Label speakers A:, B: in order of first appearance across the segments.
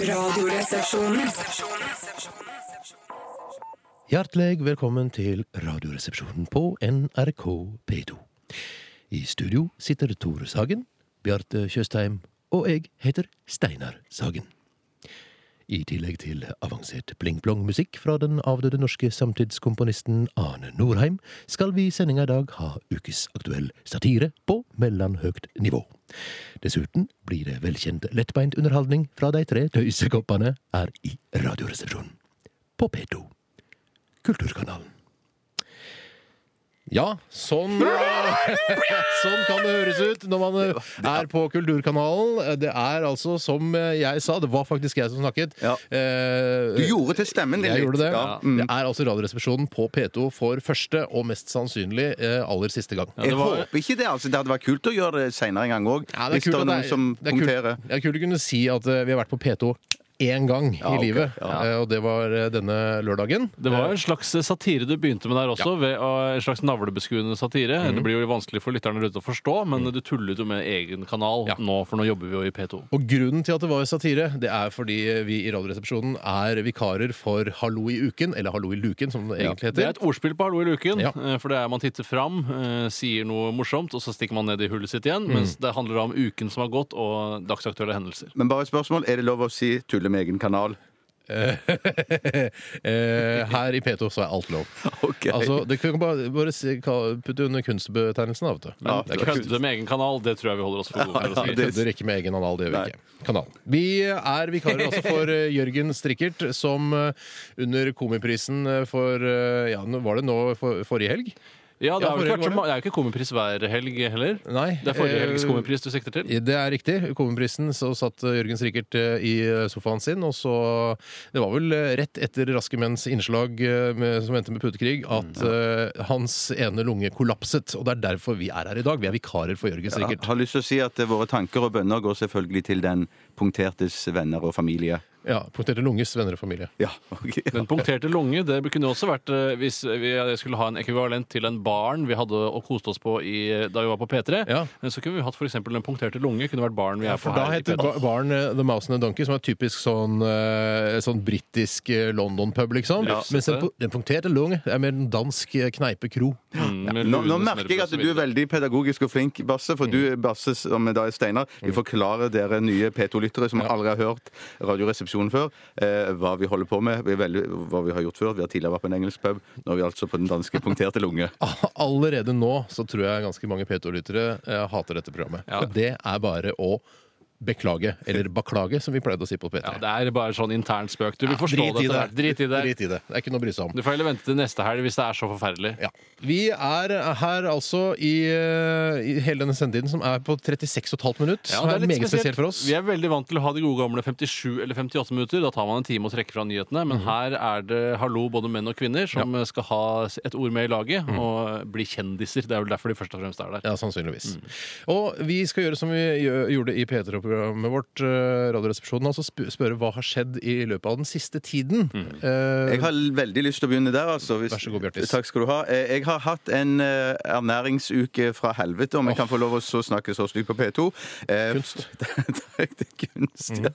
A: Radioresepsjonen.
B: Hjertelig velkommen til Radioresepsjonen på NRK P2. I studio sitter Tore Sagen, Bjarte Tjøstheim og jeg heter Steinar Sagen. I tillegg til avansert pling-plong-musikk fra den avdøde norske samtidskomponisten Ane Norheim, skal vi i sendinga i dag ha ukesaktuell satire på mellomhøgt nivå. Dessuten blir det velkjent lettbeint underholdning fra de tre tøysekoppene her i Radioresepsjonen. På P2. Kulturkanalen. Ja, sånn, sånn kan det høres ut når man eh, er på Kulturkanalen. Det er altså som jeg sa, det var faktisk jeg som snakket.
C: Ja.
B: Eh,
C: Du gjorde til stemmen din
B: jeg
C: litt.
B: gjorde det.
C: Ja. Mm.
B: Det er altså Radioresepsjonen på P2 for første og mest sannsynlig eh, aller siste gang.
C: Jeg håper ikke det. altså Det hadde vært kult å gjøre det seinere en gang òg.
B: Ja,
C: hvis det er noen
B: at
C: som
B: det er kult-
C: punkterer.
B: Det er kult å kunne si at eh, vi har vært på P2 én gang i
C: Ja, ok.
B: livet,
C: Ja.
B: Eh, og det var eh, denne lørdagen.
D: Det var en slags satire du begynte med der også, ved å- en slags navlebeskuende satire.
B: Mhm.
D: Det blir jo vanskelig for lytterne rundt å forstå, men du tullet jo med egen kanal
B: Ja.
D: nå, for nå jobber vi jo i P2.
B: Og grunnen til at det var satire, det er fordi vi i Radioresepsjonen er vikarer for Hallo i uken, eller Hallo i luken, som det egentlig
D: Det er
B: heter.
D: et ordspill på Hallo i luken,
B: Ja.
D: eh, for det er man titter fram, eh, sier noe morsomt, og så stikker man ned i hullet sitt
B: Mhm.
D: igjen, mens det handler da om uken som har gått, og dagsaktuelle hendelser.
C: Men bare et spørsmål. Er det lov å si 'tulle med egen kanal'?
B: Eh, Her i P2 så er alt lov.
C: Ok.
B: Altså, det kan bare, bare si- ka- putte under kunstbetegnelsen, da, vet du.
C: Ja,
B: det er ikke
D: Kødde med egen kanal, det tror jeg vi holder oss for gode til å
B: Vi
D: si.
C: det-
B: kødder ikke med egen anal, det gjør
C: Nei.
B: vi ikke. Kanal. Vi er vikarer altså for eh, Jørgen Strikkert, som eh, under Komiprisen eh, for eh, Ja, nå- var det nå for, forrige helg?
D: Ja, det
B: Ja,
D: er, vel
B: forrige
D: ikke vært
B: var det.
D: så ma- det er jo ikke komipris hver helg heller.
B: Nei.
D: Det er forrige
B: eh,
D: helgs komipris du sikter til.
B: Det er riktig. Komiprisen så satt eh, Jørgen Srikert eh, i eh, sofaen sin, og så Det var vel eh, rett etter Raske menns innslag eh, med, som endte med putekrig, at
C: Mm.
B: eh, hans ene lunge kollapset. Og det er derfor vi er her i dag. Vi er vikarer for Jørgen
C: Jeg
B: Srikert.
C: har lyst til å si at eh, våre tanker og bønner går selvfølgelig til den punktertes venner og familie.
B: Ja, Punkterte lunges venner og familie.
C: Ja, ok.
D: Den punkterte lunge det kunne jo også vært eh, hvis vi skulle ha en ekvivalent til en baren vi hadde og koste oss på i, eh, da vi var på P3.
B: Ja.
D: Så kunne vi hatt for eksempel den punkterte lunge. kunne vært baren vi
B: Ja,
D: er på
B: for da
D: her i
B: heter
D: P3.
B: ba- baren eh, The Mouse and the Donkey, som er typisk sånn, eh, sånn britisk eh, London-pub, liksom.
D: Ja.
B: Mens den, pu- den punkterte lunge er mer en dansk eh, kneipekro.
D: Mm, med
C: Nå, nå
D: lune
C: merker jeg at du er
D: smørbrød og så videre.
C: veldig pedagogisk og flink, Basse. For du,
D: Mm.
C: Basse, som da er Steinar, vi forklarer dere nye P2-lyttere som aldri har hørt Radioresepsjonen før, eh, hva vi holder på med, vi er veldig, hva vi har gjort før. Vi har tidligere vært på en engelsk pub, nå er vi altså på den danske punkterte lunge.
B: Allerede nå så tror jeg ganske mange P2-lyttere eh, hater dette programmet.
D: Ja.
B: Og det er bare å beklage, eller baklage, som vi pleide å si på P3.
D: Ja, Det er bare sånn intern spøk. Du vil forstå
B: Drit
D: det
B: i
D: etter hvert. Drit i det.
B: Drit i det. Det er ikke noe å bry seg om.
D: Du får heller vente til neste helg hvis det er så forferdelig.
B: Ja. Vi er her altså i, eh, i hele denne sendetiden, som er på 36,5 minutt.
D: Ja,
B: som er, meget spesielt for oss.
D: Vi er veldig vant til å ha de gode gamle 57 eller 58 minutter. Da tar man en time og trekker fra nyhetene.
B: Mhm.
D: Men her er det hallo, både menn og kvinner, som skal ha et ord med i laget og bli kjendiser. Det er vel derfor de først og fremst er der.
B: Mhm. Ja, sannsynligvis.
D: Mm.
B: Og vi skal gjøre som vi gjø- gjorde i P3-programmet vårt, eh, Radioresepsjonen, altså sp spørre hva har skjedd i løpet av den siste tiden.
D: Mm.
B: Eh,
C: Jeg har veldig lyst til å begynne der. Altså, hvis,
B: Vær så god, Bjartis.
C: Takk skal du ha. Eh, Jeg har hatt en eh, ernæringsuke fra helvete, om jeg kan få lov å så snakke så stygt på P2. Eh,
B: Kunst. Mhm.
C: Takk, det er kunst, ja.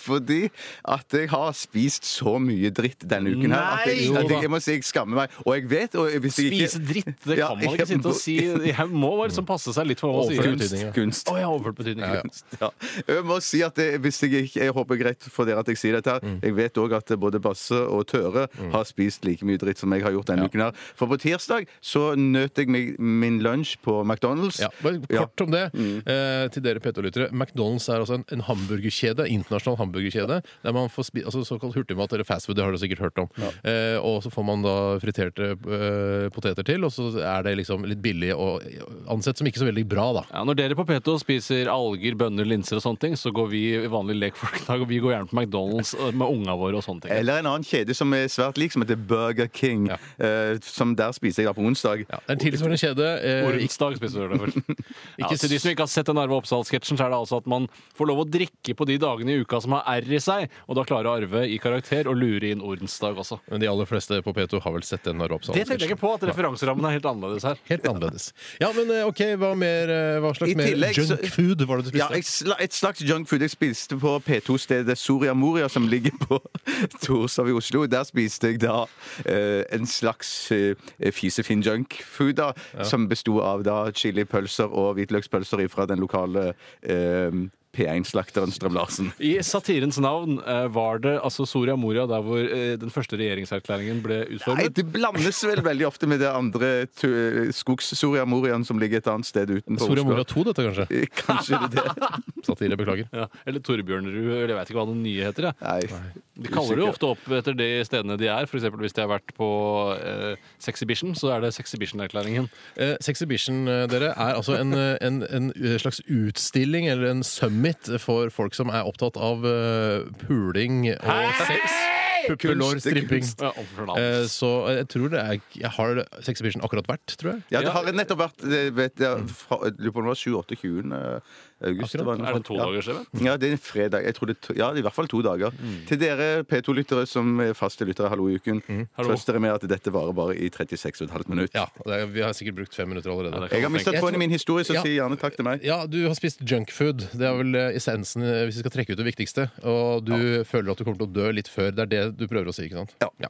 C: Fordi at jeg har spist så mye dritt denne uken her at jeg,
B: Nei!
C: at jeg, jeg må si jeg skammer meg. Og jeg vet og hvis jeg ikke,
D: Spise dritt, det
C: Ja,
D: kan man
C: jeg
D: ikke sitte
C: må-
D: og si. Jeg må bare liksom passe seg litt for hva man
B: Overført
D: sier.
B: betydning, ja.
C: Kunst.
D: Å, jeg har overført betydning.
B: Ja, ja.
C: Ja. Jeg må si at det, hvis jeg ikke Jeg håper greit for dere at jeg sier dette her.
B: Mm.
C: Jeg vet òg at både Basse og Tøre har spist like mye dritt som jeg har gjort denne uken her. For på tirsdag så nøt jeg meg min lunsj på McDonald's.
B: Ja, bare kort
C: Ja.
B: om det
D: Mm.
B: eh, til dere P2-lyttere. McDonald's er altså en, en hamburgerkjede, internasjonal hamburgerkjede, der man får spi altså såkalt hurtigmat eller fastfood, det har du sikkert hørt om. Eh, og så får man da friterte eh, poteter til, og så er det liksom litt billig og ansett som ikke så veldig bra, da.
D: Ja, når dere på Peto spiser alger, bønner, linser og sånne ting, så går vi vanlige lekfolkdag og vi går gjerne på McDonald's eh, med unga våre og sånne ting.
C: Eller en annen kjede som er svært lik, som heter Burger King. Eh, som der spiser jeg da på onsdag.
B: Ja, det er en tilsvarende kjede. Eh, ikke-
D: Onsdag spiser du det for. Ja,
B: Ikke
D: til de som ikke har sett den Arve Oppsal-sketsjen, så er det altså at man får lov å drikke på de dagene dagene i uka som har R i seg, og da klarer Arve i karakter å lure inn ordensdag også.
B: Men de aller fleste på P2 har vel sett den Narvapsalen.
D: Det tenkte jeg ikke på, at referanserammen er helt annerledes her.
B: Helt annerledes. Ja, men eh, OK, hva mer eh, Hva slags
C: I tillegg
B: mer
C: så-
B: junk food var det du
C: Ja,
B: spiste?
C: jeg sla- et slags junkfood jeg spiste på P2-stedet Soria Moria, som ligger på Torshov i Oslo. Der spiste jeg da eh, en slags eh, fisefin junkfood, da, som besto av da chilipølser og hvitløkspølser fra den lokale eh, P1-slakteren Strøm-Larsen.
D: I satirens navn eh, var det altså Soria Moria der hvor eh, den første regjeringserklæringen ble
C: Nei,
D: utformet.
C: det blandes vel veldig ofte med det andre tu- Skogs-Soria Moriaen som ligger et annet sted utenfor
B: Soria Moria
C: Oslo.
B: 2, dette, kanskje?
C: Eh, Kanskje det er det.
B: Satire, beklager.
D: Ja, eller Torbjørnrud, eller jeg vet ikke hva den nye heter. Jeg.
C: Nei.
D: De kaller det jo
C: usikker.
D: ofte opp etter de stedene de er. For eksempel hvis de har vært på eh, Sexibition, så er det Sexibition-erklæringen.
B: Eh, Sexibition eh, dere, er altså en, eh, en, en eh, slags utstilling eller en summit for folk som er opptatt av eh, puling og sex. Puppelår,
C: Kunst, det er
B: stripping.
C: kunst.
D: Ja, overfor navn.
B: Eh, Så jeg tror det er Jeg har Sexibition akkurat vært, tror jeg.
C: Ja, det
D: Ja.
C: har nettopp vært det vet jeg, fra, jeg lurer på om det var 7-28. august.
B: Akkurat.
C: var noe
D: er det
C: sånt.
D: to
C: ja.
D: dagers event?
C: Ja, det er en fredag. Jeg tror det er to, ja, det er i hvert fall to dager.
D: Mm.
C: Til dere P2-lyttere som er faste lyttere, hallo i uken.
D: Mm. Hallo.
C: Trøst dere med at dette varer bare i 36,5 minutter.
B: Ja, det er, Vi har sikkert brukt fem minutter allerede.
D: Ja, det kan-
C: Jeg har mista
B: Jeg
C: tråden i
B: tror-
C: min historie, så
B: Ja.
C: si gjerne takk til meg.
B: Ja, du har spist junkfood. Det er vel eh, essensen, eh, hvis vi skal trekke ut det viktigste. Og du føler at du kommer til å dø litt før. Det er det du prøver å si, ikke sant?
C: Ja.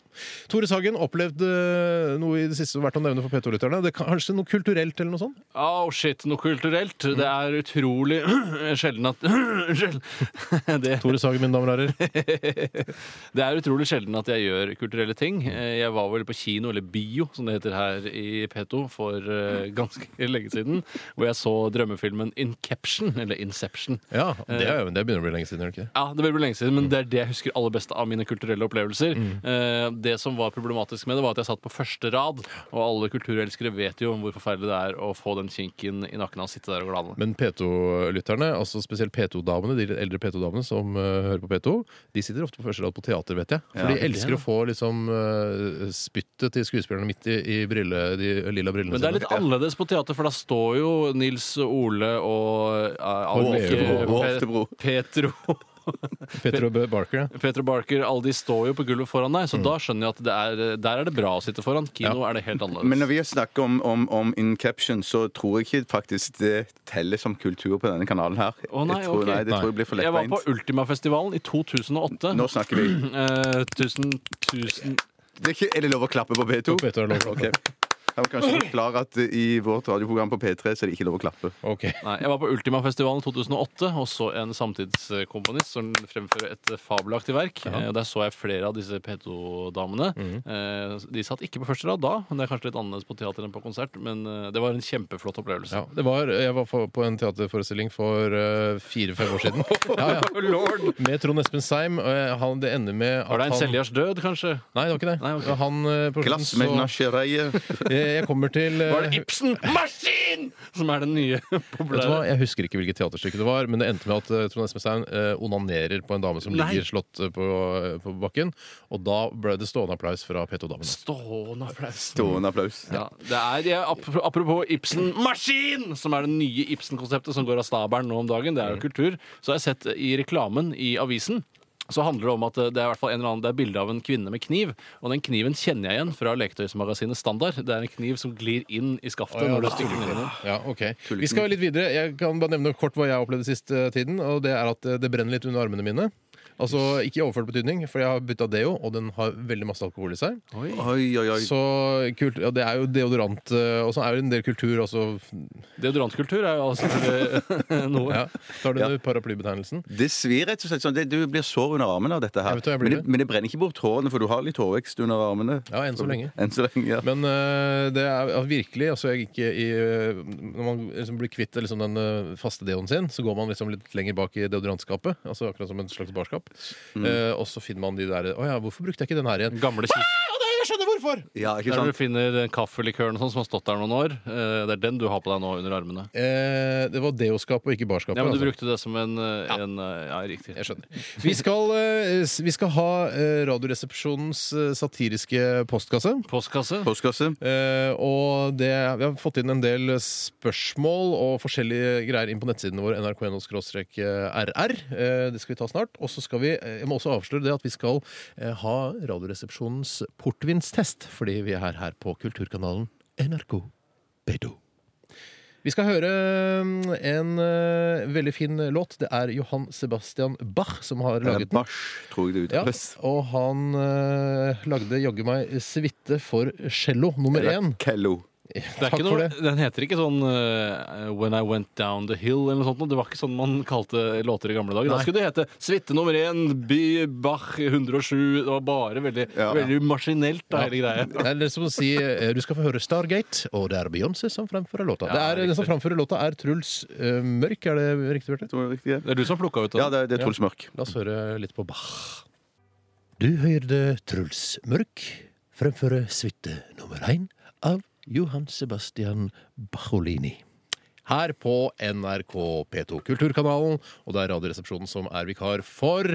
B: Tore Sagen, opplevd eh, noe i det siste som er verdt å nevne for P2-lytterne? Det kan- Kanskje noe kulturelt eller noe sånt?
D: Oh shit, noe kulturelt. Det er utrolig sjelden at Unnskyld. det,
B: Tore Sagen, mine damer og herrer.
D: det er utrolig sjelden at jeg gjør kulturelle ting. Eh, Jeg var vel på kino, eller bio, som det heter her i P2, for eh, ganske lenge siden. Hvor jeg så drømmefilmen Inception, eller Inception.
B: Ja, det, er, jo- det begynner å bli lenge siden, gjør det ikke? det?
D: Ja, det blir lenge siden, men det er det jeg husker aller best av mine kulturelle opplevelser. Eh, Det som var problematisk med det, var at jeg satt på første rad, og alle kulturelskere vet jo hvor forferdelig det er å få den kinken i nakken av å sitte der og glane.
B: Men P2-lytterne, altså spesielt P2-damene, de eldre P2-damene som eh, hører på P2, de sitter ofte på første rad på teater, vet jeg. For
C: Ja,
B: de elsker å få liksom eh, spyttet til skuespillerne midt i, i brille, de lilla brillene
D: Men det er litt annerledes på teater, for da står jo Nils Ole og eh, Alrik,
B: Oftebro,
D: eh, Pe-
C: Oftebro.
D: Petro
B: Petter og Bø Barker, ja.
D: Petro Barker, alle de står jo på gulvet foran deg, så
C: Mm.
D: da skjønner jeg at det er, der er det bra å sitte foran. Kino er det helt annerledes.
C: Men når vi snakker om, om, om Incaption, så tror jeg ikke faktisk det teller som kultur på denne kanalen her.
D: Å, nei,
C: jeg tror,
D: ok.
C: nei, det
B: Nei.
C: tror jeg blir for
D: jeg var på
C: lettbeint.
D: Ultimafestivalen i 2008.
C: Nå snakker vi.
D: Eh, tusen, tusen
C: Det er, ikke, er det lov å klappe på P2?
B: På P2 er det lov å klappe.
C: Ok. Jeg må kanskje forklare at i vårt radioprogram på P3 så er det ikke lov å klappe.
B: Ok.
D: Nei, jeg var på Ultimafestivalen 2008, også en samtidskomponist som fremfører et fabelaktig verk. Eh, og Der så jeg flere av disse P2-damene.
B: Mhm.
D: Eh, De satt ikke på første rad da, men det er kanskje litt annerledes på teater enn på konsert. Men eh, det var en kjempeflott opplevelse.
B: Ja, det var, jeg var for- på en teaterforestilling for eh, fire-fem år siden. Ja, ja. Med Trond Espen Seim. og jeg- Han, det ender med at
D: Var det en
B: han-
D: Seljars død, kanskje?
B: Nei, det var ikke det.
D: Nei, ok.
B: Han, eh, på slutten så-
C: Glassmenasjereie.
B: Eh, Jeg kommer til eh,
D: Var det Ibsen Maskin som er den nye
B: Vet du hva?
D: populære?
B: Jeg husker ikke hvilket teaterstykke det var, men det endte med at eh, Trond Espen Seim eh, onanerer på en dame som
D: Nei.
B: ligger slått eh, på, på bakken. Og da ble det stående applaus fra P2-damene.
D: Stående applaus.
C: Stående applaus.
D: Ja, det er, jeg, ap- apropos Ibsen Maskin, som er det nye Ibsen-konseptet som går av stabelen nå om dagen. Det er jo
B: Mm.
D: kultur. Så har jeg sett i reklamen i avisen. Så handler det om at det er i hvert fall en eller annen, det er bilde av en kvinne med kniv. Og den kniven kjenner jeg igjen fra leketøysmagasinet Standard. Det er en kniv som glir inn i skaftet.
B: Å, ja,
D: når du
B: det er
D: stikker den inn.
B: Ja, ok. Vi skal litt videre. Jeg kan bare nevne kort hva jeg opplevde siste tiden. Og det er at eh, det brenner litt under armene mine. Altså ikke i overført betydning, for jeg har bytta deo, og den har veldig masse alkohol i seg.
C: Oi, oi, oi.
B: Så kult, ja, det er jo deodorant eh, og sånn er det en del kultur også.
D: Deodorantkultur er jo altså selvfølgelig noe.
B: Ja. Tar du paraplybetegnelsen?
C: Det svir rett og slett sånn. Det, du blir sår under armene av dette her.
B: Jeg vet hva jeg blir
C: men, det, men det brenner ikke bort hårene, for du har litt hårvekst under armene.
B: Ja, enn så lenge.
C: Enn så lenge, ja.
B: Men eh, det er ja, virkelig altså jeg gikk i, eh, Når man liksom blir kvitt liksom, den eh, faste deoen sin, så går man liksom litt lenger bak i deodorantskapet. Altså
D: Mm.
B: Akkurat som en slags barskap. Eh, og så finner man de der Å ja, hvorfor brukte jeg ikke den her igjen?
D: Gamle kis- jeg skjønner hvorfor!
C: Ja, ikke
D: Der hvor
C: sant?
D: du finner den kaffelikøren og sånn som har stått der noen år. eh, Det er den du har på deg nå under armene.
B: Eh, det var deoskapet og ikke barskapet.
D: Ja, men Du
B: altså.
D: brukte det som en, eh, en eh, Ja, riktig.
B: Jeg skjønner. Vi skal, eh, s- vi skal ha eh, Radioresepsjonens eh, satiriske postkasse.
D: Postkasse.
C: Postkasse.
B: Eh, og det, vi har fått inn en del spørsmål og forskjellige greier inn på nettsidene våre. nrk.no-rr. Eh, det skal vi ta snart. Og så skal vi, eh, jeg må også avsløre det at vi skal eh, ha Radioresepsjonens portvinstest, fordi vi er her på kulturkanalen NRK Bedo. Vi skal høre mm, en eh, veldig fin låt. Det er Johan Sebastian Bach som har
C: Eller
B: laget den.
C: Bæsj, tror jeg det
B: Ja,
C: uttales.
B: og han eh, lagde jaggu meg suite for cello nummer
C: Eller
B: én.
C: Kello.
D: Det er
B: Takk
D: ikke
B: for
D: noe,
B: det.
D: den heter ikke sånn eh, When I Went Down The Hill eller noe sånt. noe. Det var ikke sånn man kalte låter i gamle dager. Da skulle det hete Suite nummer én, By Bach 107. Det var bare veldig,
C: Ja.
D: veldig maskinelt, da, hele greia.
B: Det er liksom å si eh, Du skal få høre Stargate, og det er Beyoncé som fremfører låta.
D: Ja,
B: det er, den som fremfører låta, er Truls eh, Mørk, er det riktig, Bjarte?
C: Tror jeg det er riktig.
B: Sånn.
D: Det er du som har plukka ut den.
C: Ja, det er, det er Truls Mørk.
B: La oss høre litt på Bach.
A: Du hørte Truls Mørk fremføre suite nummer én av Johan Sebastian Bacholini.
B: Her på NRK P2 Kulturkanalen, og det er Radioresepsjonen som er vikar for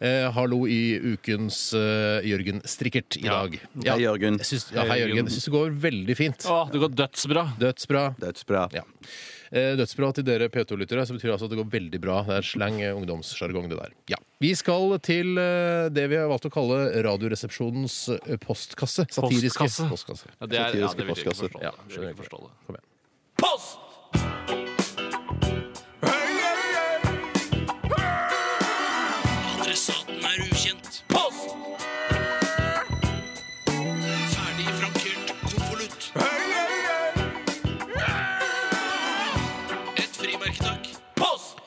B: eh, Hallo i ukens eh, Jørgen Strikkert i dag. Ja,
C: Hei, Jørgen.
B: jeg syns, ja, hei, Jørgen. Eh, Jeg syns det går veldig fint.
D: Å, det går dødsbra.
B: Dødsbra.
C: Dødsbra.
B: Ja. Eh, Dødsbra til dere P2-lyttere, så betyr det altså at det går veldig bra. Det er slang eh, ungdomssjargong, det der. Ja. Vi skal til eh, det vi har valgt å kalle Radioresepsjonens eh, postkasse. Satiriske
D: Postkasse.
B: postkasse.
D: Ja, det er, ja,
C: Satiriske
D: det vil jeg ikke
C: postkasser.
D: forstå.
B: Ja,
D: det vil jeg ikke forstå det.
B: Kom igjen.
D: Post!
E: Adressaten er ukjent. Post! Ferdig frankert konvolutt. Et frimerke, takk. Post!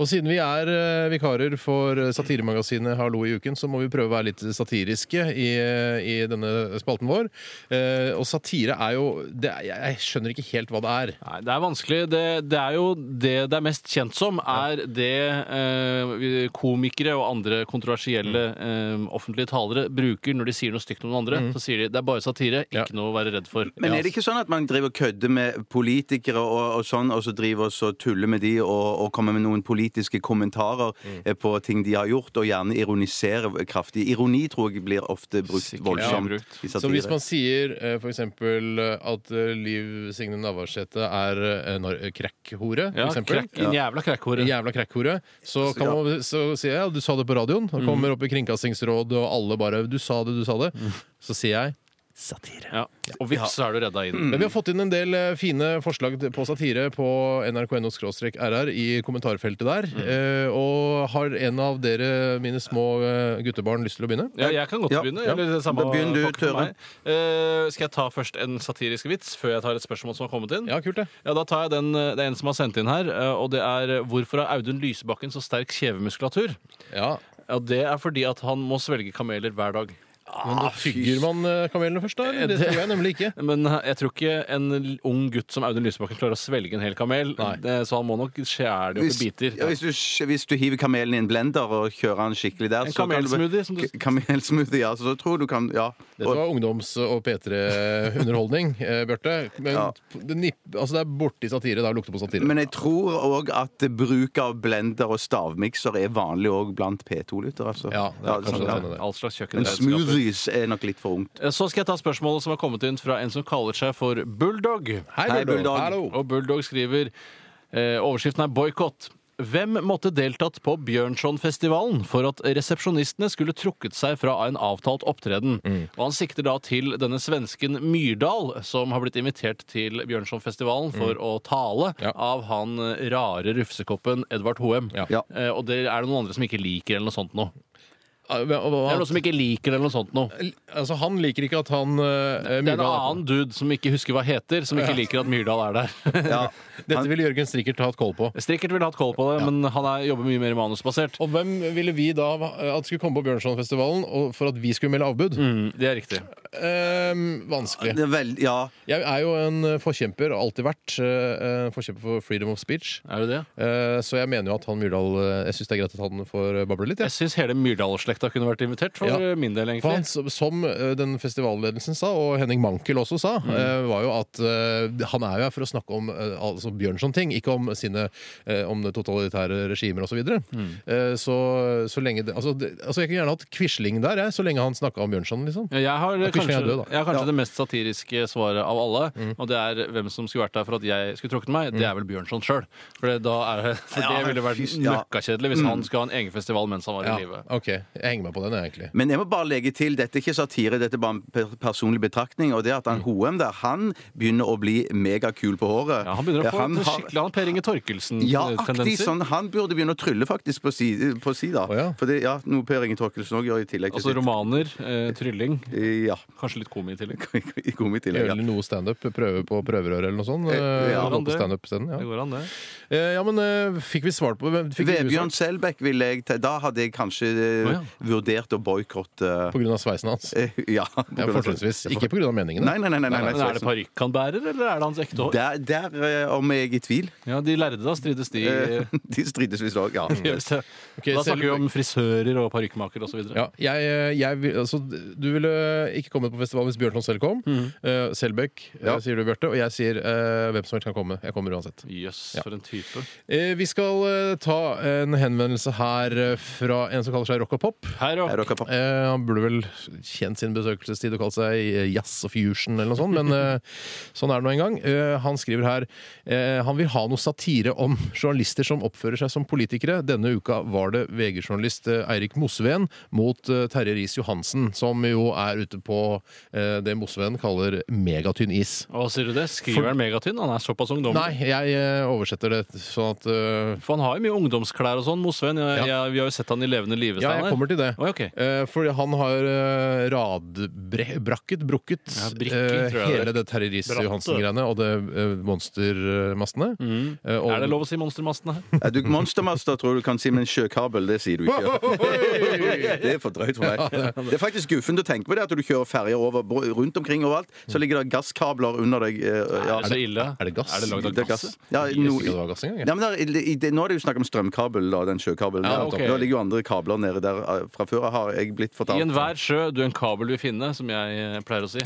B: Og siden vi er eh, vikarer for eh, satiremagasinet Hallo i uken, så må vi prøve å være litt satiriske i, eh, i denne spalten vår. Eh, og satire er jo det, er- Jeg jeg skjønner ikke helt hva det er.
D: Nei, det er vanskelig. Det, det er jo det det er mest kjent som, er det eh, vi- komikere og andre kontroversielle eh, offentlige talere bruker når de sier noe stygt om noen andre. Så sier de det er bare satire, ikke noe å være redd for.
C: Men er det ikke sånn at man driver og kødder med politikere og, og sånn, og så driver og så tuller med de og, og kommer med noen politiske kommentarer
B: Mm.
C: eh, på ting de har gjort, og gjerne ironiserer kraftig? Ironi tror jeg blir ofte brukt
D: Sikkert
C: voldsomt
D: blir brukt.
C: i
B: Så hvis
C: satire.
B: man sier eh, for eksempel at eh, Liv Signe Navarsete er eh, nar- krekkhore, for
D: Ja,
B: eksempel.
D: krekk, en jævla krekkhore.
B: Jævla krekkhore. Så kan
C: Ja.
B: man så sier jeg ja, du sa det på radioen, og
D: Mm.
B: kommer opp i Kringkastingsrådet, og alle bare 'du sa det, du sa det'. Så sier jeg
D: Ja. Og vips, så er du redda inn.
B: Men vi har fått inn en del eh, fine forslag til- på satire på nrk.no-rr i kommentarfeltet der.
D: Mm.
B: Eh, Og har en av dere, mine små eh, guttebarn, lyst til å begynne?
D: Ja, jeg kan godt
C: Ja,
D: begynne.
C: ja.
D: Eller det samme
C: Da begynner du,
D: pakket for
C: Tøre.
D: meg. Eh, skal jeg ta først en satirisk vits før jeg tar et spørsmål som har kommet inn?
B: Ja, kult det.
D: Ja, da tar jeg den, eh, Det er en som har sendt inn her, eh, og det er eh, hvorfor har Audun Lysbakken så sterk kjevemuskulatur?
B: Ja.
D: Ja, Det er fordi at han må svelge kameler hver dag.
B: Men
C: Ah,
B: da tygger man eh, kamelene først, da? Eller? Det
D: Det-
B: tror jeg nemlig ikke.
D: Men jeg tror ikke en l- ung gutt som Audun Lysbakken klarer å svelge en hel kamel. Det, så han må nok skjære det opp i
C: Hvis,
D: biter.
C: ja, hvis, du, hvis du hiver kamelen i en blender og kjører den skikkelig der
D: En
C: så kan du-
D: kamelsmoothie, som du-
C: K- Kamelsmoothie, ja. Så tror du kan Ja.
B: Dette var ungdoms- og P3-underholdning, eh, Bjarte. Men
C: Ja.
B: det, nipp, altså det er borti satire. Da lukter på satire.
C: Men jeg tror òg at bruk av blender og stavmikser er vanlig òg blant P2-lyttere. Altså.
B: Ja, det er kanskje
C: sånn,
B: det.
C: ja.
B: det.
D: All slags kjøkken.
C: Men smoothies er nok litt for ungt.
D: Eh, Så skal jeg ta spørsmålet som har kommet inn fra en som kaller seg for Bulldog.
C: Hei, Bulldog.
B: Hallo.
D: Og Bulldog skriver eh, Overskriften er boikott. Hvem måtte deltatt på Bjørnsonfestivalen for at resepsjonistene skulle trukket seg fra en avtalt opptreden?
B: Mm.
D: Og han sikter da til denne svensken Myrdal, som har blitt invitert til Bjørnsonfestivalen for å tale
B: Mm. Ja.
D: av han eh, rare rufsekoppen Edvard Hoem.
B: Ja.
C: Ja.
D: Eh, og det er det noen andre som ikke liker eller noe sånt noe.
B: Ja, Ah, men- og
D: Det er noen
B: hva-
D: som ikke liker eller noe sånt noe.
B: Altså, han liker ikke at han eh,
D: Det er en
B: Myrdal er på.
D: annen dude som ikke husker hva heter, som ikke liker at Myrdal er der.
C: Ja.
B: Dette ville Jørgen Strikkert hatt koll på.
D: Strikkert ville hatt koll på det, men han er, jobber mye mer manusbasert.
B: Og hvem ville vi da at skulle komme på Bjørnsonfestivalen og for at vi skulle melde avbud?
D: Mm, det er riktig.
B: Ehm, vanskelig.
C: Det er vel, ja.
B: Jeg er jo en forkjemper, og alltid vært, eh, forkjemper for freedom of speech.
D: Er det det?
B: Eh, Så jeg mener jo at han Myrdal eh, Jeg syns det er greit at han får bable litt. jeg.
D: Jeg syns hele Myrdal-slekta kunne vært invitert, for
B: Ja.
D: min del, egentlig.
B: For han, som- som eh, den festivalledelsen sa, og Henning Mankel også sa, eh, var jo at eh, han er jo her for å snakke om eh, altså Bjørnson-ting, ikke om sine eh, om det totalitære regimer osv. Så, videre. Eh, så så lenge det, altså, det altså Jeg kunne gjerne hatt Quisling der, jeg, så lenge han snakka om Bjørnson, liksom.
D: Ja, Jeg har
B: Ja, Quisling
D: kanskje,
B: er død, da.
D: jeg har kanskje det mest satiriske svaret av alle. Og det er hvem som skulle vært der for at jeg skulle trukket meg. Det er vel Bjørnson sjøl. For det, da er det, for det
C: Ja,
D: ville vært
C: fy s- ja.
D: møkkakjedelig hvis han skulle ha en egen festival mens han var
B: Ja,
D: i live.
B: ok, Jeg henger meg på den, jeg, egentlig.
C: Men jeg må bare legge til, dette er ikke satire, dette er bare en per- personlig betraktning. Og det at han
D: Mm.
C: Hoem der, han begynner å bli megakul på håret.
D: Ja, han begynner å få
C: han har-
D: skikkelig han Per Inge
C: Ja, aktig
D: Torkelsen-tendenser.
C: sånn. Han burde begynne å trylle faktisk på si, på si da.
B: Å, ja.
C: For det, ja, noe Per Inge Torkelsen òg gjør i tillegg til
D: altså romaner, eh, trylling,
C: sitt. Ja.
D: kanskje litt komi i tillegg.
C: I komitillegg.
B: Gjøre
C: Ja.
B: noe standup. Prøve på prøverøret eller noe sånt. eh,
C: ja,
B: gå på
D: det-
B: standup-scenen,
D: Det
B: ja.
D: går an, det.
B: Eh, ja, men eh, fikk vi svart på fikk vi
C: Vebjørn
B: svart
C: Selbekk ville jeg ta- Da hadde jeg kanskje eh,
D: Å, ja.
C: vurdert å boikotte
B: På grunn av sveisen hans?
C: eh, Ja. på
B: Ja,
C: grunn av-
B: Fortrinnsvis. Ikke på grunn av meningene.
C: Nei, nei, nei. nei, nei,
D: Men er det parykk han bærer, eller er det hans ekte hår?
C: Der, der eh, om jeg er i tvil.
D: Ja, De lærde, da, strides de.
C: Eh,
D: eh,
C: De strides visst òg, ja.
D: gjør seg.
B: Ok,
D: da snakker vi
B: selv-
D: om frisører og parykkmakere osv.
B: Ja, jeg, jeg, vil- altså, du ville ikke kommet på festival hvis Bjørnson selv kom. Eh, Selbekk eh,
C: Ja.
B: sier du, Bjarte, og jeg sier eh, hvem som helst kan komme. Jeg kommer uansett.
D: Jøss,
B: Ja.
D: for en type.
B: Eh, vi skal eh, ta en henvendelse her eh, fra en som kaller seg Rock og Pop.
D: Her
C: Er
D: og
C: dere på?
B: Eh, han burde vel kjent sin besøkelsestid og kalt seg eh, Jazz og Fusion eller noe sånt, men eh, sånn er det nå en gang. Eh, han skriver her eh, han vil ha noe satire om journalister som oppfører seg som politikere. Denne uka var det VG-journalist eh, Eirik Mosveen mot eh, Terje Riis-Johansen, som jo er ute på eh, det Mosveen kaller megatynn is.
D: Hva sier du det? Skriver han megatynn? Han er såpass ungdommelig.
B: Nei, jeg eh, oversetter det sånn at eh,
D: For han har jo mye ungdomsklær og sånn, Mosveen. Jeg,
B: Ja.
D: jeg, vi har jo sett han i levende live.
B: Ja, jeg
D: Steinar.
B: kommer til det.
D: Oi, ok.
B: Eh, fordi han har eh, radbrakket, brukket,
D: Ja, brikket,
B: eh,
D: tror jeg det er.
B: hele det Terje Riis-Johansen-greiene og det eh, monstermastene. Eh, og-
D: Mm. Er det lov å si monstermastene her?
C: Ja, Eh, Du, Monstermaster tror du kan si, men sjøkabel, det sier du ikke. Det er for drøyt for meg. Det er faktisk guffent å tenke på det, at du kjører ferjer over bro- rundt omkring overalt, så ligger det gasskabler under deg. eh, Ja,
D: Er det så ille?
B: er det gass?
D: altså, Er det laget
C: Det er
D: av gass?
C: gass. Ja,
B: Jeg
C: no,
B: visste ikke at det var gass engang. jeg.
C: ja, men der, i, i, det- nå er det jo snakk om strømkabel, da, den sjøkabelen.
D: Ja,
C: der.
D: ok.
C: Nå ligger jo andre kabler nede der eh, fra før, har jeg blitt
D: I
C: fortalt.
D: enhver sjø du en kabel vil finne, som jeg eh, pleier å si.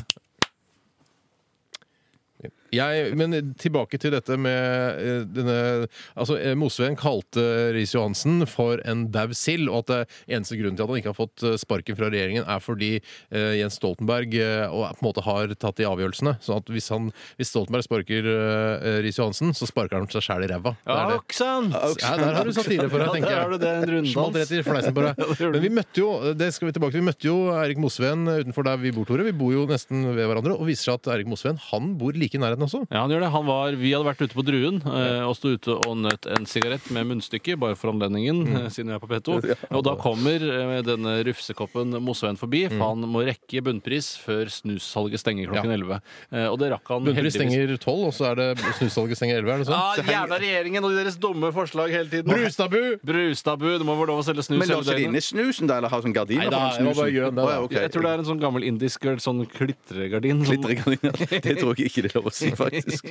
B: Jeg, men tilbake til dette med eh, denne Altså, eh, Mosveen kalte Riis-Johansen for en dau sild, og at det eneste grunnen til at han ikke har fått eh, sparken fra regjeringen, er fordi eh, Jens Stoltenberg eh, og på en måte har tatt de avgjørelsene. Så at hvis, han, hvis Stoltenberg sparker eh, Riis-Johansen, så sparker han seg sjæl i ræva. Det
D: Ja,
B: er det.
D: Oksan!
B: Ja, der har du satire for deg, tenker
D: der
B: jeg.
D: har du det. En
B: Smalt rett
D: runddans.
B: i fleisen på deg.
D: det gjorde
B: Men vi møtte jo det skal vi tilbake til, vi møtte jo Erik Mosveen eh, utenfor der vi bor, Tore. Vi bor jo nesten ved hverandre. Og viser seg at Erik Mosveen han bor like i nærheten også.
D: Ja, han gjør det. Han var, vi hadde vært ute på Druen eh, og sto ute og nøt en sigarett med munnstykke, bare for anledningen, eh, siden vi er på P2. Og da kommer eh, denne rufsekoppen Mosveen forbi, for han må rekke bunnpris før snussalget stenger klokken 11. Eh, og det rakk han
B: Bunnpris stenger tolv, og så er det snussalget stenger elleve. Er det
D: Ja,
B: sånn?
D: jævla regjeringen og deres dumme forslag hele tiden.
B: Brustabu!
D: Brustabu, det må være lov å selge snus
C: Men la oss
D: hele
C: ikke
D: døgnet.
C: inne snusen, da, eller ha sånn gardiner
B: Nei, da,
C: foran
B: jeg var bare
C: snusen?
B: grønn, det,
C: Å, ja,
B: da.
C: ok.
D: Jeg tror det er en sånn gammel indisk sånn klitregardin. som-
C: Glittergardiner. Det tror jeg ikke det er lov å si, faktisk.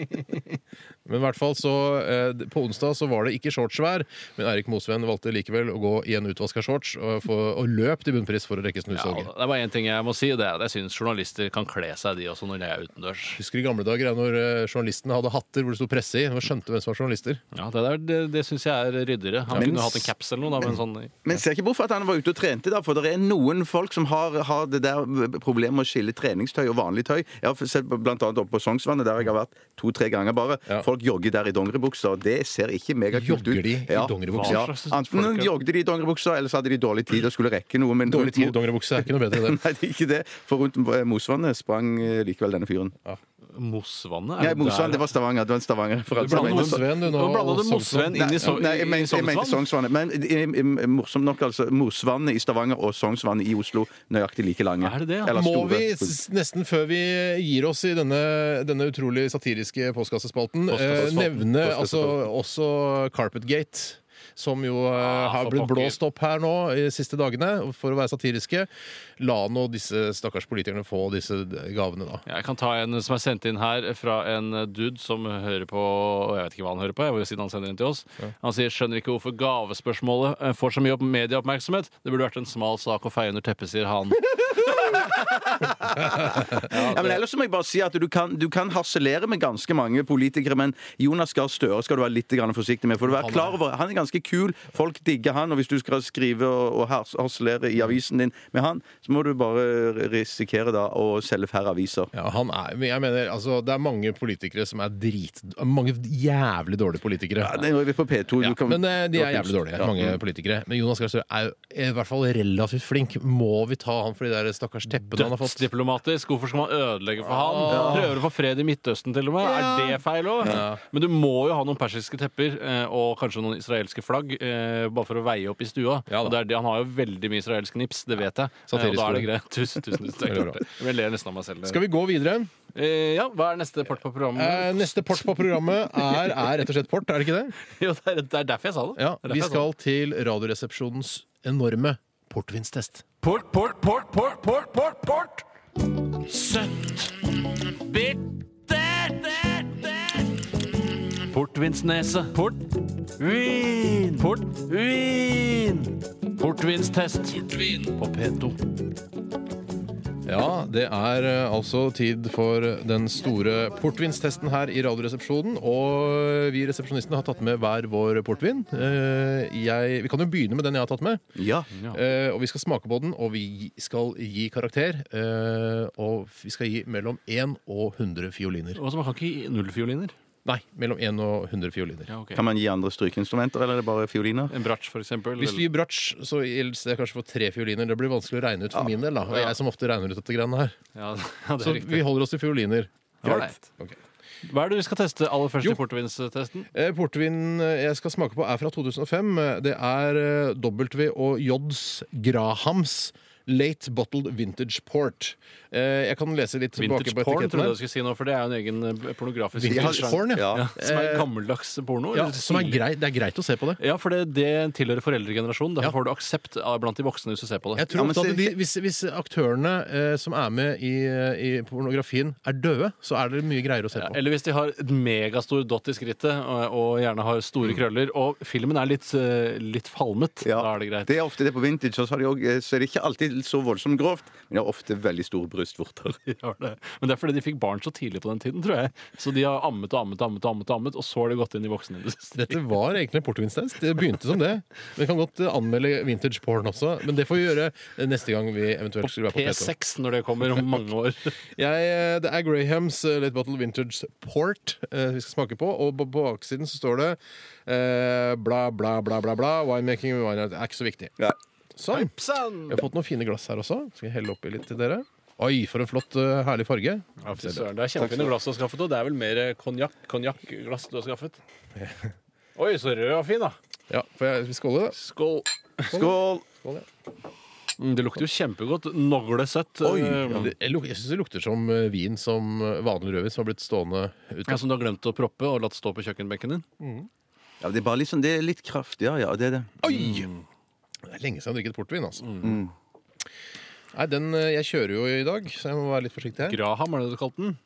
B: Men i hvert fall så eh, På onsdag så var det ikke shortsvær, men Erik Mosveen valgte likevel å gå i en utvaska shorts og, få- og løp til bunnpris for å rekke
D: Ja, det
B: snussalget.
D: er bare én ting jeg må si, og det er at jeg syns journalister kan kle seg de også når de er utendørs.
B: Husker i gamle dager ja, når eh, journalistene hadde hatter hvor det sto presse i? Når man skjønte hvem som var journalister.
D: Ja, Det, der, det, det syns jeg er ryddigere. Han
C: Men-
D: kunne hatt en caps eller noe. Da, men sånn,
C: Men ser ikke bort fra at han var ute og trente, da, for det er noen folk som har, har det der problemet med å skille treningstøy og vanlig tøy. Jeg har sett blant annet oppe på Sognsvannet, der jeg har vært to-tre ganger bare.
B: Ja.
C: Folk jogger der i dongeribukser, og det ser ikke megakult ut.
B: Jogger de i dongeribukser?
C: Ja.
D: Hva slags
C: Enten
D: folk er-
C: jogget de i dongeribukser, eller så hadde de dårlig tid og skulle rekke noe. Men
B: Dårlig tid i dongeribukse er ikke noe bedre i det.
C: Nei, det er ikke det. For rundt eh, Mosvannet sprang eh, likevel denne fyren.
D: Mosvannet?
C: Nei, Mosvann, det var Stavanger. Det var en Stavanger.
D: Du blander
B: Mosvann.
D: Mosven, du nå.
B: Nå blander du
D: og
B: Mosven
D: Sognsvann.
C: Nei,
D: inn i so-
C: nei, jeg
D: i
C: mente- jeg sånn- mente
D: Sognsvann.
C: Sognsvannet. Men i- i- i- morsomt nok, altså. Mosvannet i Stavanger og Sognsvannet i Oslo nøyaktig like lange.
D: Er det det, ja?
C: Eller
B: Må
C: store.
B: vi s- nesten før vi gir oss i denne, denne utrolig satiriske postkassespalten, eh,
D: Postkassespalten.
B: nevne altså,
D: Postkassespalten.
B: også Carpetgate? Som jo eh,
D: Ah,
B: har
D: for
B: blitt
D: pokker.
B: blåst opp her nå i de siste dagene, for å være satiriske. La nå disse stakkars politikerne få disse gavene, da.
D: Jeg kan ta en som er sendt inn her fra en eh, dude som hører på og Jeg vet ikke hva han hører på, jeg, hvor siden han sender den til oss. Han sier 'skjønner ikke hvorfor gavespørsmålet eh, får så mye opp- medieoppmerksomhet'. Det burde vært en smal sak å feie under teppet, sier han.
C: Ja, men ellers så må jeg bare si at du kan, du kan harselere med ganske mange politikere, men Jonas Gahr Støre skal du være litt grann forsiktig med. For du er klar over, Han er ganske kul, folk digger han, og hvis du skal skrive og, og hars- harselere i avisen din med han, så må du bare risikere da å selge færre aviser.
B: Ja, han er, men jeg mener, altså, det er mange politikere som er drit... Mange jævlig dårlige politikere.
C: Ja, Nå er vi på P2.
B: Ja,
C: du kan-
B: men eh, de
C: du
B: er
C: har kunst.
B: jævlig Mm. dårlige,
C: Ja.
B: mange politikere. Men Jonas Gahr Støre er jo i hvert fall relativt flink. Må vi ta han for de der stakkars teppene han har fått? Ah.
D: Dødsdiplomatisk. Hvorfor skal man ødelegge for han? Prøver å få fred i Midtøsten, til og med. Er det feil òg? Men du må jo ha noen persiske tepper eh, og kanskje noen israelske flagg, eh, bare for å veie opp i stua.
B: Ja da.
D: Og det er det, han har jo veldig mye israelsk nips, det vet jeg. Eh,
B: Satirisk
D: Og da er det
B: ord.
D: greit. Tusen, tusen, tusen
B: Veldig
D: takk.
B: bra.
D: Jeg ler nesten av meg selv.
B: Skal vi gå videre?
D: Eh, ja, hva er neste part på
B: Eh,
D: programmet?
B: neste port på programmet er, er rett og slett port, er det ikke det?
D: Jo, det er, det er derfor jeg sa det.
B: Ja,
D: Det er derfor
B: Vi
D: jeg sa
B: skal
D: det.
B: til Radioresepsjonens enorme portvinstest.
D: Port, port, port, port, port, port, port. Søtt. Bittert. Portvinsnese. Portvin. Portvin. Portvinstest på P2.
B: Ja, det er eh, altså tid for den store portvinstesten her i Radioresepsjonen. Og vi resepsjonistene har tatt med hver vår portvin. Eh, Jeg, vi kan jo begynne med den jeg har tatt med.
C: Ja.
B: Eh, og vi skal smake på den, og vi skal gi karakter. eh, og vi skal gi mellom 1 og 100 fioliner.
D: Og så Man kan ikke gi null fioliner.
B: Nei, mellom 1 og 100 fioliner.
C: Kan man gi andre strykeinstrumenter, eller er det bare fioliner?
D: En bratsj, for eksempel.
B: Hvis vi gir bratsj, så gjelder det kanskje for tre fioliner. Det blir vanskelig å regne ut for min del. da Og jeg som ofte regner ut dette greiene her.
D: Ja, ja, det
B: Så
D: er riktig.
B: vi holder oss til fioliner.
D: Greit.
B: Ok.
D: Hva er det vi skal teste aller først
B: Jo.
D: i portvinstesten?
B: Eh, Portvin eh, jeg skal smake på, er fra 2005. Eh, Det er eh, W og J's Grahams. Late Bottled Vintage Port. Eh, Jeg kan lese litt tilbake
D: Vintage
B: på
D: porn,
B: etiketten.
D: trodde jeg
B: her.
D: du skulle si nå, for det er jo en egen eh, pornografisk
B: Vintage
D: sjanger.
B: porn, ja.
C: Ja.
D: Som er gammeldags porno.
B: Ja,
D: eller
B: som er
D: tidlig-
B: grei, det er greit å se på det.
D: Ja, for det, det tilhører foreldregenerasjonen.
B: Ja.
D: Derfor får du aksept av- blant de voksne hvis du ser på det.
B: Jeg tror
C: Ja, men
B: ofte at
C: så-
B: de, hvis, hvis aktørene eh, som er med i, eh, i pornografien, er døde, så er det mye greiere å se
D: Ja,
B: på.
D: eller hvis de har et megastor dott i skrittet og, og gjerne har store krøller, og filmen er litt, eh, litt falmet,
C: Ja.
D: da er det greit.
C: Det er ofte det på vintage, og så, har de også, eh, så er det ikke alltid så voldsomt grovt, men de har ofte veldig store brystvorter.
D: De har det. Men det er fordi de fikk barn så tidlig på den tiden, tror jeg. Så de har ammet og ammet og ammet, og ammet, og ammet og så har de gått inn i voksenindustri.
B: Dette var egentlig en portvinstest. Det begynte som det. Vi kan godt eh, anmelde vintage porn også, men det får vi gjøre eh, neste gang vi eventuelt skulle være på P2.
D: P6 når det kommer om mange år.
B: Jeg, eh, det er Grahams eh, Late Bottle Vintage Port eh, vi skal smake på. Og på på baksiden så står det eh, bla, bla, bla, bla, bla. Winemaking wine Det er ikke så viktig.
C: Ja.
B: Sånn. Jeg har fått noen fine glass her også. Skal jeg helle oppi litt til dere? Oi, for en flott, eh, herlig farge.
D: Ja, fy søren, Det er kjempefine glass du har skaffet, og det er vel mer eh, konjakk, konjakkglass du har skaffet. Oi, så rød og fin, da.
B: Ja, får jeg vi skåle?
D: Skål.
C: Skål!
B: Skål, ja.
D: Mm, Det lukter jo kjempegodt. Noglesøtt.
B: Oi,
D: Eh,
B: ja. det- Jeg, luk- jeg syns det lukter som eh, vin som eh, vanlig rødvin som har blitt stående
D: Ja,
B: ute.
D: Som du har altså glemt å proppe og latt stå på kjøkkenbenken din?
C: Ja, det er bare litt sånn, det er litt kraft, ja, ja, det er det.
B: Oi! Det er lenge siden jeg har drikket portvin, altså. Nei, den eh, Jeg kjører jo i dag, så jeg må være litt forsiktig her.
D: Graham, er det det du kalte den?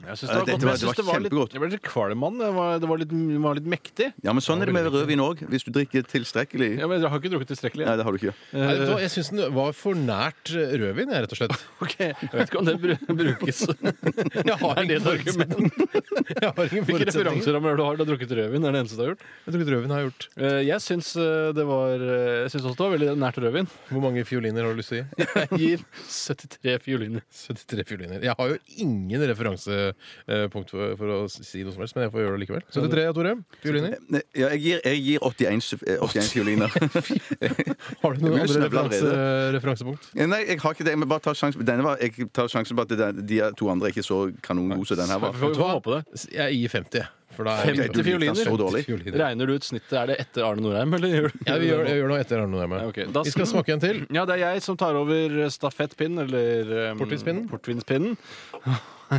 D: Jeg syns det
C: Ja,
D: var,
C: dette var-
D: godt, men jeg
C: det
D: synes
C: var
D: det var litt,
C: kjempegodt.
D: jeg ble litt kvalm av den. Det var, det var, litt, den var litt mektig.
C: Ja, men sånn er det med rødvin òg. Hvis du drikker tilstrekkelig.
D: Ja, men Jeg har ikke drukket tilstrekkelig. Eh,
C: Nei, det har du ikke.
B: Nei, vet du hva, jeg syns den var for nært eh, rødvin, jeg, rett og slett.
D: Ok, Jeg vet ikke om det bru- brukes.
B: Jeg har
D: Er det
B: ingen
D: et
B: forutsetning.
D: argument?
B: Jeg har ingen
D: Hvilke
B: forutsetninger.
D: referanser av du har? Du har drukket rødvin? Det er det eneste du har gjort.
B: Jeg tror ikke rødvin har jeg gjort.
D: Eh, Jeg syns eh, det var eh, Jeg synes også det var veldig nært rødvin.
B: Hvor mange fioliner har du lyst til å gi?
D: Jeg gir 73 fioliner.
B: 73 fioliner. Jeg har jo ingen referanse eh, punkt for, for å si noe som helst, men jeg får gjøre det likevel. 73, ja, Tore. Fioliner.
C: Nei, Eh, Ja, jeg gir, jeg gir 81, f- eh, 81 fioliner.
B: Har du noen andre
C: Jeg begynner å snøvle
B: referanse, referansepunkt?
C: Ja, Eh, Nei, jeg har ikke det. Jeg må bare ta sjansen Denne var, jeg tar sjansen på at det, de to andre er ikke så kanongode som den her var.
D: Vi får vi får håpe det.
B: Jeg gir 50. For da er
D: 50
C: fioliner?
B: Så dårlig.
D: Regner du ut snittet? Er det etter Arne Norheim, eller gjør du
B: Ja, vi gjør, jeg gjør noe etter Arne Nordheim.
D: Ja, ok. Da
B: Vi skal smake en til.
D: Ja, det er jeg som tar over stafettpinnen, eller um,
B: Portvinspinnen?
D: portvinspinnen.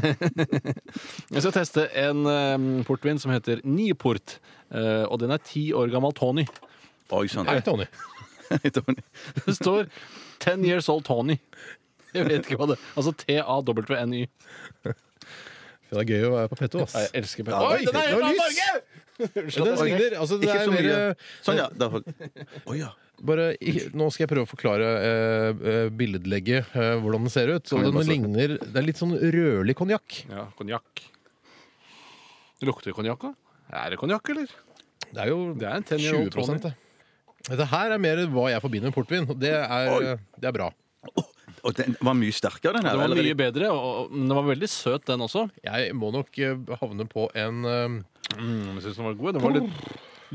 D: jeg skal teste en um, portvin som heter Niport, eh, og den er ti år gammel Tony.
C: Oi, sånn.
B: Hei, Tony.
C: Tony.
D: Det står 'Ten Years Old Tony'. Jeg vet ikke hva det Altså T-A-W-N-Y.
B: Det er gøy å være på Petto,
D: Nei,
B: ass.
D: Jeg elsker Petter.
B: Oi, den er
D: det var
B: fra
D: lys!
B: Norge!
D: Unnskyld
B: Den
D: at jeg-
B: svigner. Altså, det
C: Ikke
B: er
C: så mye.
B: mer
D: eh,
C: Sånn, ja. Da hold- Å, ja.
B: bare, ikke- Nå skal jeg prøve å forklare eh, eh, billedlegget, eh, hvordan den ser ut. Så
C: Kan jeg
B: den
C: bare se?
B: ligner, Det er litt sånn rødlig konjakk.
D: Ja, konjakk. Lukter det konjakk, da? Er det konjakk, eller?
B: Det er jo
D: Det er en 10 year old
B: 20
D: Tony.
B: det. Dette her er mer hva jeg forbinder med portvin. og Det er, det er bra.
C: Og den var mye sterkere, den her.
D: Den var
C: eller?
D: mye bedre, og, og men den var veldig søt, den også.
B: Jeg må nok eh, havne på en eh,
D: Mm, jeg synes den var god. Den var litt,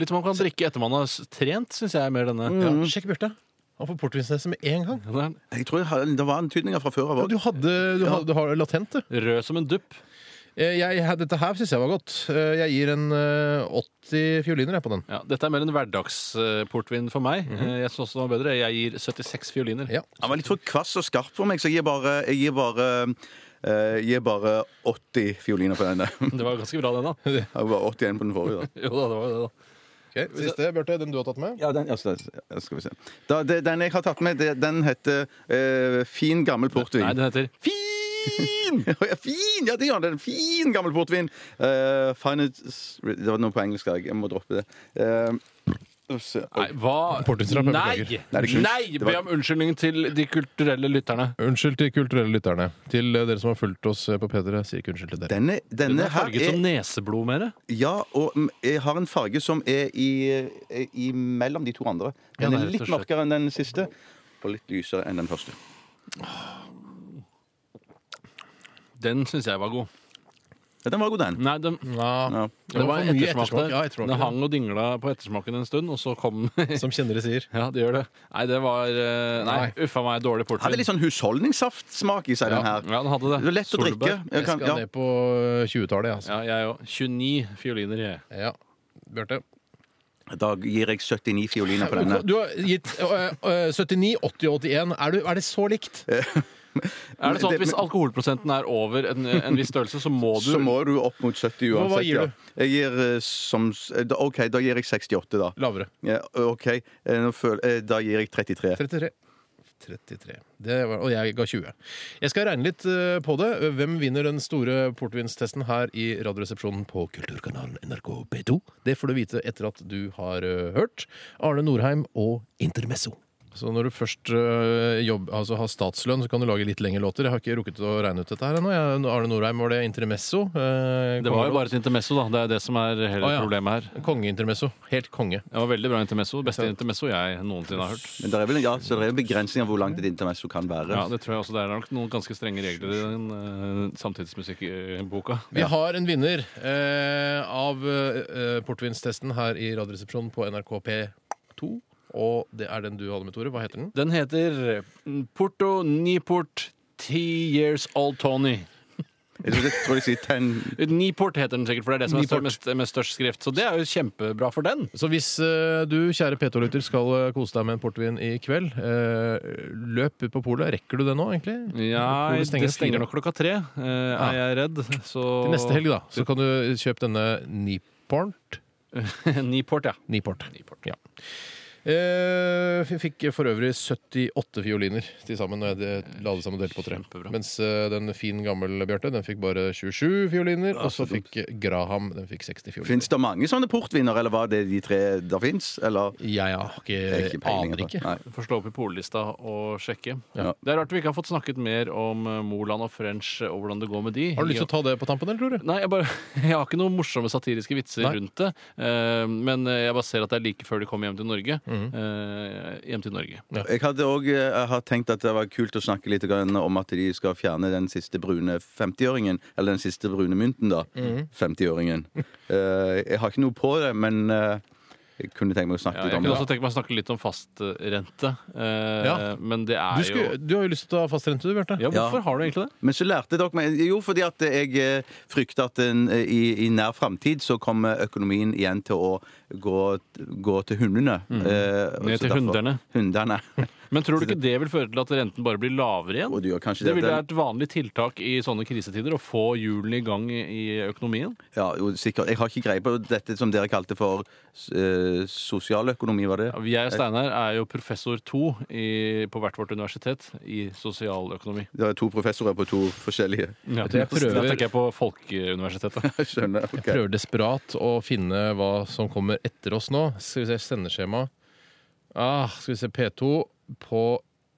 D: litt som man kan drikke etter man har s- trent, syns jeg er mer denne.
B: ja, Sjekk Bjarte. Han får portvinsnese med en gang.
D: Den er
C: Jeg tror jeg har- det var antydninger fra før av
B: Ja,
C: òg.
B: du hadde, du hadde, du har latent, du.
D: Rød som en dupp.
B: Eh, Jeg, dette her syns jeg var godt. Eh, Jeg gir en eh, 80 fioliner jeg, på den.
D: Ja, dette er mer en hverdagsportvin for meg. Eh, Jeg synes også den var bedre. Jeg gir 76 fioliner.
B: Ja.
C: Han var litt for kvass og skarp for meg, så jeg gir bare, jeg gir bare, eh, jeg gir bare 80 fioliner på den. der.
D: Det var ganske bra, den, da.
C: Jeg var 81 på den forrige. da.
D: Jo da, det var det, da.
B: Ok, Siste, Bjarte. Den du har tatt med?
C: Ja, den, altså, ja, skal vi se. Da, det, den jeg har tatt med, det, den heter eh, Fin gammel portvin.
D: Nei, den heter
C: Fin! Ja, fin! Ja, det gjør den. Fin, gammel portvin. Eh, finest... Det var noe på engelsk. Jeg må droppe det. Eh, skal vi se.
D: Nei, hva
B: Portvinstrapp, jeg
D: Nei!
B: beklager.
C: Nei, det er kult.
D: Nei!
C: Det
D: Be
C: var-
D: om unnskyldning til de kulturelle lytterne.
B: Unnskyld til kulturelle lytterne. Til eh, dere som har fulgt oss eh, på P3, sier ikke unnskyld til dere.
C: Denne,
D: Den
C: denne
D: er
C: her
D: farget som
C: er,
D: neseblod, mere.
C: ja, og mm, jeg har en farge som er i, er i mellom de to andre. Den er
D: Ja, det er rett og
C: litt
D: slett.
C: mørkere enn den siste, og litt lysere enn den første.
D: Den syns jeg var god.
C: Ja, den var god, den.
D: Nei, den
B: Ja,
C: Ja.
B: det var for mye ettersmak. Ja, ettersmak.
D: Den hang og dingla på ettersmaken en stund, og så kom
B: Som kjennere sier.
D: Ja, det gjør det. Nei, det var eh, Nei,
B: Nei.
D: uffa meg, dårlig portvin.
C: Hadde litt sånn husholdningssaftsmak i seg, den her.
D: Ja, den hadde det.
C: Det var lett å
D: Solbær.
C: drikke. Jeg
B: Jeg
C: kan,
B: skal
C: ja.
B: ned på eh, 20-tallet, jeg, altså.
D: Ja, jeg òg. 29 fioliner, jeg.
B: Ja. Bjarte.
C: Da gir jeg 79 fioliner på denne.
B: Du har gitt eh, eh, 79, 80 og 81. Er, du, er det så likt?
D: Er det sånn at
C: det-
D: Hvis alkoholprosenten er over en, en viss størrelse, så må
C: Så
D: du
C: må du opp mot 70 uansett.
B: Hva- hva gir du?
C: Ja. Jeg gir eh, som s- eh, da- OK, da gir jeg 68, da.
B: Lavere.
C: Ja, OK, eh, nå føler, eh, da gir jeg 33.
B: 33. 33. Det var, og jeg ga 20. Jeg skal regne litt eh, på det. Hvem vinner den store portvinstesten her i Radioresepsjonen på kulturkanalen NRK P2? Det får du vite etter at du har eh, hørt Arne Norheim og Intermesso. Så når du først eh, jobb, altså har statslønn, så kan du lage litt lengre låter. Jeg har ikke rukket å regne ut dette her ennå. Jeg- Arne Norheim var det Intermesso. eh,
D: Det var jo
B: kongelåt.
D: bare et intermesso, da. Det er det som er hele
B: Å, ja.
D: problemet her.
B: Kongeintermesso. Helt konge.
D: Det var veldig bra intermesso. Beste intermesso jeg noensinne har hørt.
C: Men det er vel en, ja, så det er en begrensning av hvor langt et intermesso kan være.
D: Ja, Det tror jeg også det er nok noen ganske strenge regler i den eh, samtidsmusikkboka.
B: Vi har en vinner eh, av eh, portvinstesten her i Radioresepsjonen på NRK P2. Og det er den du hadde med, Tore. Hva heter den?
D: Den heter mm, Porto Niport T Years Old Tony.
C: Jeg tror- jeg tror de sier 10
D: Niport heter den sikkert, for det er det som er
B: Niport.
D: mest, mest størst skrift. Så det er jo kjempebra for den.
B: Så hvis eh, du, kjære P2-lytter, skal eh, kose deg med en portvin i kveld, eh, løp ut på polet. Rekker du det nå, egentlig?
D: Ja,
B: Polet
D: det stenger,
B: fire.
D: nok klokka tre, eh, er jeg redd. Så
B: Til neste helg, da. Så kan du kjøpe denne Niport.
D: Niport, ja.
B: Niport. Ja. Eh, vi fikk for øvrig 78 fioliner til sammen når jeg de- la det sammen og delte på tre.
D: Kjempebra.
B: Mens eh, den fin, gammel Bjarte den fikk bare 27 fioliner. og så fikk Graham den fikk 60 fioliner.
C: Fins det mange sånne portviner, eller var det de tre der fins? Eller?
B: Jeg har
D: Eh,
B: ikke, aner
C: på.
B: ikke.
C: Nei.
D: Vi får slå opp i pollista og sjekke.
C: Ja.
D: Det er rart vi ikke har fått snakket mer om eh, Moland og French og hvordan det går med de.
B: Har du lyst til å ta det på tampen, eller, tror du?
D: Nei, jeg, bare, jeg har ikke noen morsomme satiriske vitser
B: Nei. Mhm.
D: rundt det. eh, men jeg bare ser at det er like før de kommer hjem til Norge. Eh, eh, hjem til Norge.
C: Jeg hadde òg tenkt at det var kult å snakke litt grann om at de skal fjerne den siste brune 50-øringen. Eller den siste brune mynten, da.
D: Mhm.
C: 50-øringen. Eh, jeg har ikke noe på det, men eh, jeg kunne tenke meg å snakke
D: Ja,
C: litt
D: jeg
C: om
D: kunne
C: det.
D: også tenke meg å snakke litt om fastrente, eh,
B: Ja.
D: men det
B: Du,
D: er jo
B: skulle, du har jo lyst til å ta fastrente, du, Bjarte.
D: Ja,
C: Ja.
D: hvorfor har du egentlig det?
C: Men så lærte dere meg Jo, fordi at jeg eh, frykter at en, eh, i, i nær framtid så kommer økonomien igjen til å gå, gå til hundene. Eh,
D: Mhm. Ned
C: så
D: til
C: derfor-
D: hunderne.
C: Hunderne.
D: Men tror du ikke det vil føre til at renten bare blir lavere igjen?
C: Og du gjør kanskje
D: Det
C: det.
D: ville vært et vanlig tiltak i sånne krisetider å få hjulene i gang i i økonomien.
C: Ja, jo, sikkert. Jeg har ikke greie på dette som dere kalte for eh, sosialøkonomi, var det?
D: Ja, Jeg og Steinar er jo professor to i, på hvert vårt universitet i sosialøkonomi.
C: Det er to professorer på to forskjellige.
D: Ja,
B: du, jeg prøver-
D: Da tenker jeg på Folkeuniversitetet.
C: Jeg skjønner. ok.
B: Prøver desperat å finne hva som kommer etter oss nå. Skal vi se sendeskjema. Ah, skal vi se P2 på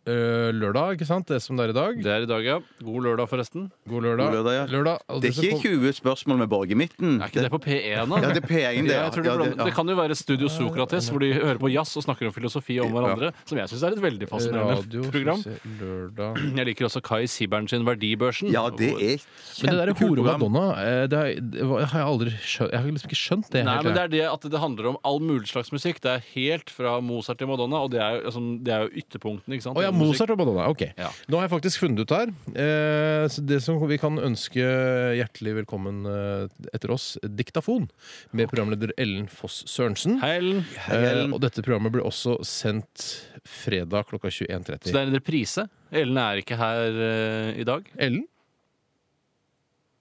B: øh, lørdag, ikke sant? Det som det er i dag.
D: Det er i dag, ja. God lørdag, forresten.
B: God lørdag.
C: God lørdag, ja.
B: og
C: Det er
B: som
C: ikke
B: kom-
C: 20 spørsmål med Borg i midten.
D: Er ikke det på P1,
C: Ja,
D: da?
C: det er P1, det.
D: Ja, jeg tror du
C: Ja,
D: blander- det kan jo være Studio Sokrates, hvor de hører på jazz og snakker om filosofi om hverandre. Som jeg syns er et veldig
B: Radio,
D: fascinerende program.
B: skal vi se, lørdag
D: Jeg liker også Kai Sibern sin Verdibørsen.
C: ja, det er
B: Men det der
C: kjempekult
B: hore
C: program.
B: Madonna, eh, det har, det var- har jeg aldri skjønt Jeg har liksom ikke skjønt det.
D: Nei,
B: helt,
D: men det
B: jeg.
D: er det at det handler om all mulig slags musikk. Det er helt fra Mozart til Madonna, og det er jo, altså, det er jo ytterpunktene. ikke sant?
B: Å ja,
D: Musikk.
B: Mozart og Madonna. Ok.
D: Ja.
B: Nå har jeg faktisk funnet ut her. Eh, så det som vi kan ønske hjertelig velkommen eh, etter oss, Diktafon, med programleder Ellen Foss Sørensen.
D: Hei, Ellen.
B: Eh, og dette programmet blir også sendt fredag klokka
D: Så det
B: 21.30.
D: er en reprise. Ellen er ikke her eh, i dag.
B: Ellen?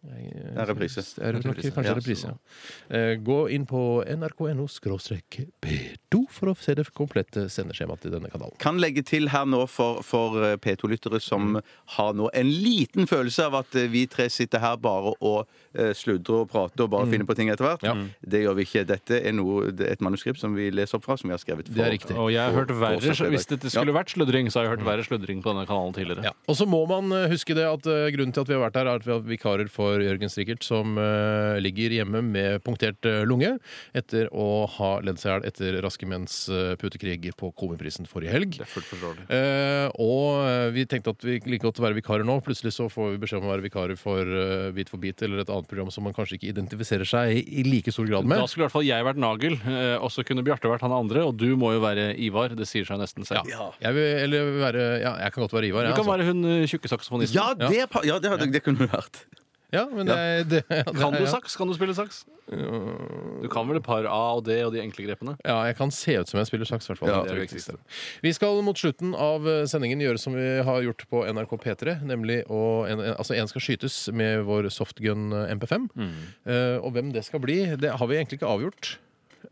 C: Det er reprise.
B: Det er nok
D: Reprise.
B: kanskje
C: Ja,
B: reprise. Ja. Eh, Gå inn på nrk.no p2 for å se det komplette sendeskjemaet til denne kanalen.
C: Kan legge til her nå for, for eh, P2-lyttere som har nå en liten følelse av at eh, vi tre sitter her bare og eh, sludrer og prater og bare finner på ting etter hvert.
B: Ja.
C: Det gjør vi ikke. Dette er noe, det er et manuskript som vi leser opp fra, som vi har skrevet for.
B: Det er riktig.
D: Og jeg har hørt verre,
C: Torsdag, fredag.
D: Hvis det skulle vært sludring, så har jeg hørt verre sludring på denne kanalen tidligere.
B: Mm. Ja. Og så må man eh, huske det at eh, grunnen til at vi har vært her, er at vi har vikarer for Jørgen Strikert, som eh, ligger hjemme med punktert eh, lunge etter å ha ledd seg i hjel etter Raske menns eh, putekrig på Komiprisen forrige helg.
D: Det er fullt forståelig.
B: Eh, og eh, vi tenkte at vi like godt å være vikarer nå. Plutselig så får vi beskjed om å være vikarer for eh, Bit for bit eller et annet program som man kanskje ikke identifiserer seg i, i like stor grad
D: Da
B: med.
D: skulle i hvert fall jeg vært Nagel, eh, og så kunne Bjarte vært han andre. Og du må jo være Ivar. Det sier seg nesten selv.
B: Ja. Jeg, vil, eller være, ja, jeg kan godt være Ivar.
D: Du
B: jeg,
D: kan
B: altså.
D: være hun eh, tjukke saksofonisten.
C: Ja, det, er pa- ja, det, hadde, det kunne det vært.
B: ja, men det, det, det,
D: Kan du
B: ja.
D: saks? Kan du spille saks? Du kan vel et par A og D og de enkle grepene?
B: Ja, jeg kan se ut som jeg spiller sjakk. i hvert fall.
C: Ja,
B: Det er
D: det
B: det
D: viktigste.
B: viktigste. Vi skal mot slutten av eh, sendingen gjøre som vi har gjort på NRK P3. Nemlig å en, en- altså en skal skytes med vår softgun eh, MP5.
D: Mm.
B: Eh, og hvem det skal bli, det har vi egentlig ikke avgjort.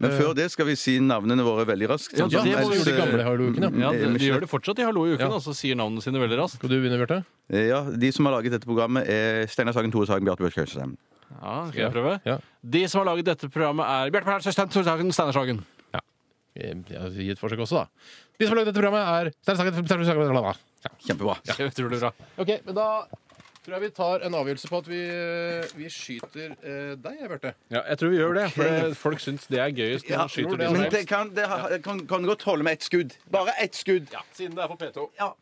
C: Men før det skal vi si navnene våre veldig raskt.
D: Ja,
C: sånn som
D: det må
B: Vi
D: vi
C: helst,
B: gjorde de gamle halloukene.
D: Ja, de, de gjør det fortsatt i Hallo i uken,
B: Ja.
D: og så sier navnene sine veldig raskt.
B: Skal du begynne, Bjarte?
C: eh, ja, De som har laget dette programmet, er Steinar Sagen, Tore Sagen, Bjarte Bjørk Kjøstheim.
D: Ja, skal jeg prøve?
B: Ja.
D: De som har laget dette programmet, er Bjarte Pernersen, Øystein Thorshagen, Steinar Sagen.
B: Eh, ja, Gi et forsøk også, da. De som har lagd dette programmet, er Stein Sagen, Stein Sagen, Stein Sagen. Ja.
C: Kjempebra.
D: Utrolig bra.
B: OK, men da tror jeg vi tar en avgjørelse på at vi, vi skyter eh, deg, Bjarte.
D: Ja, jeg tror vi gjør det, for
C: Ok.
D: det- folk syns det er gøyest når
C: Ja,
D: man skyter
B: tror
D: de
B: det,
D: som
C: Men
B: altså.
D: helst.
C: det kan, det har- kan, kan godt holde med ett skudd. Bare ett skudd.
D: Ja, siden det er på P2.
C: Ja.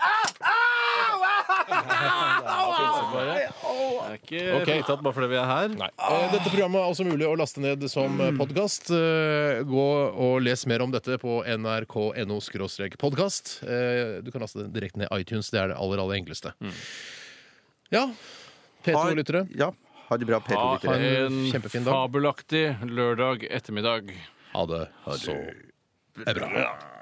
D: Det er ikke
B: Ok.
D: fritatt bare fordi vi er her. Nei.
B: Eh, Dette programmet er også mulig å laste ned som podkast. Eh, Gå og les mer om dette på nrk.no podkast. Du kan laste det direkte ned i iTunes. Det er det aller, aller enkleste.
D: Mm.
B: Ja. P2-lyttere.
C: Ja, ha det bra,
D: Ha
C: P2-lyttere.
B: en
D: en
B: kjempefin dag.
D: fabelaktig lørdag ettermiddag.
B: Ha det så bra.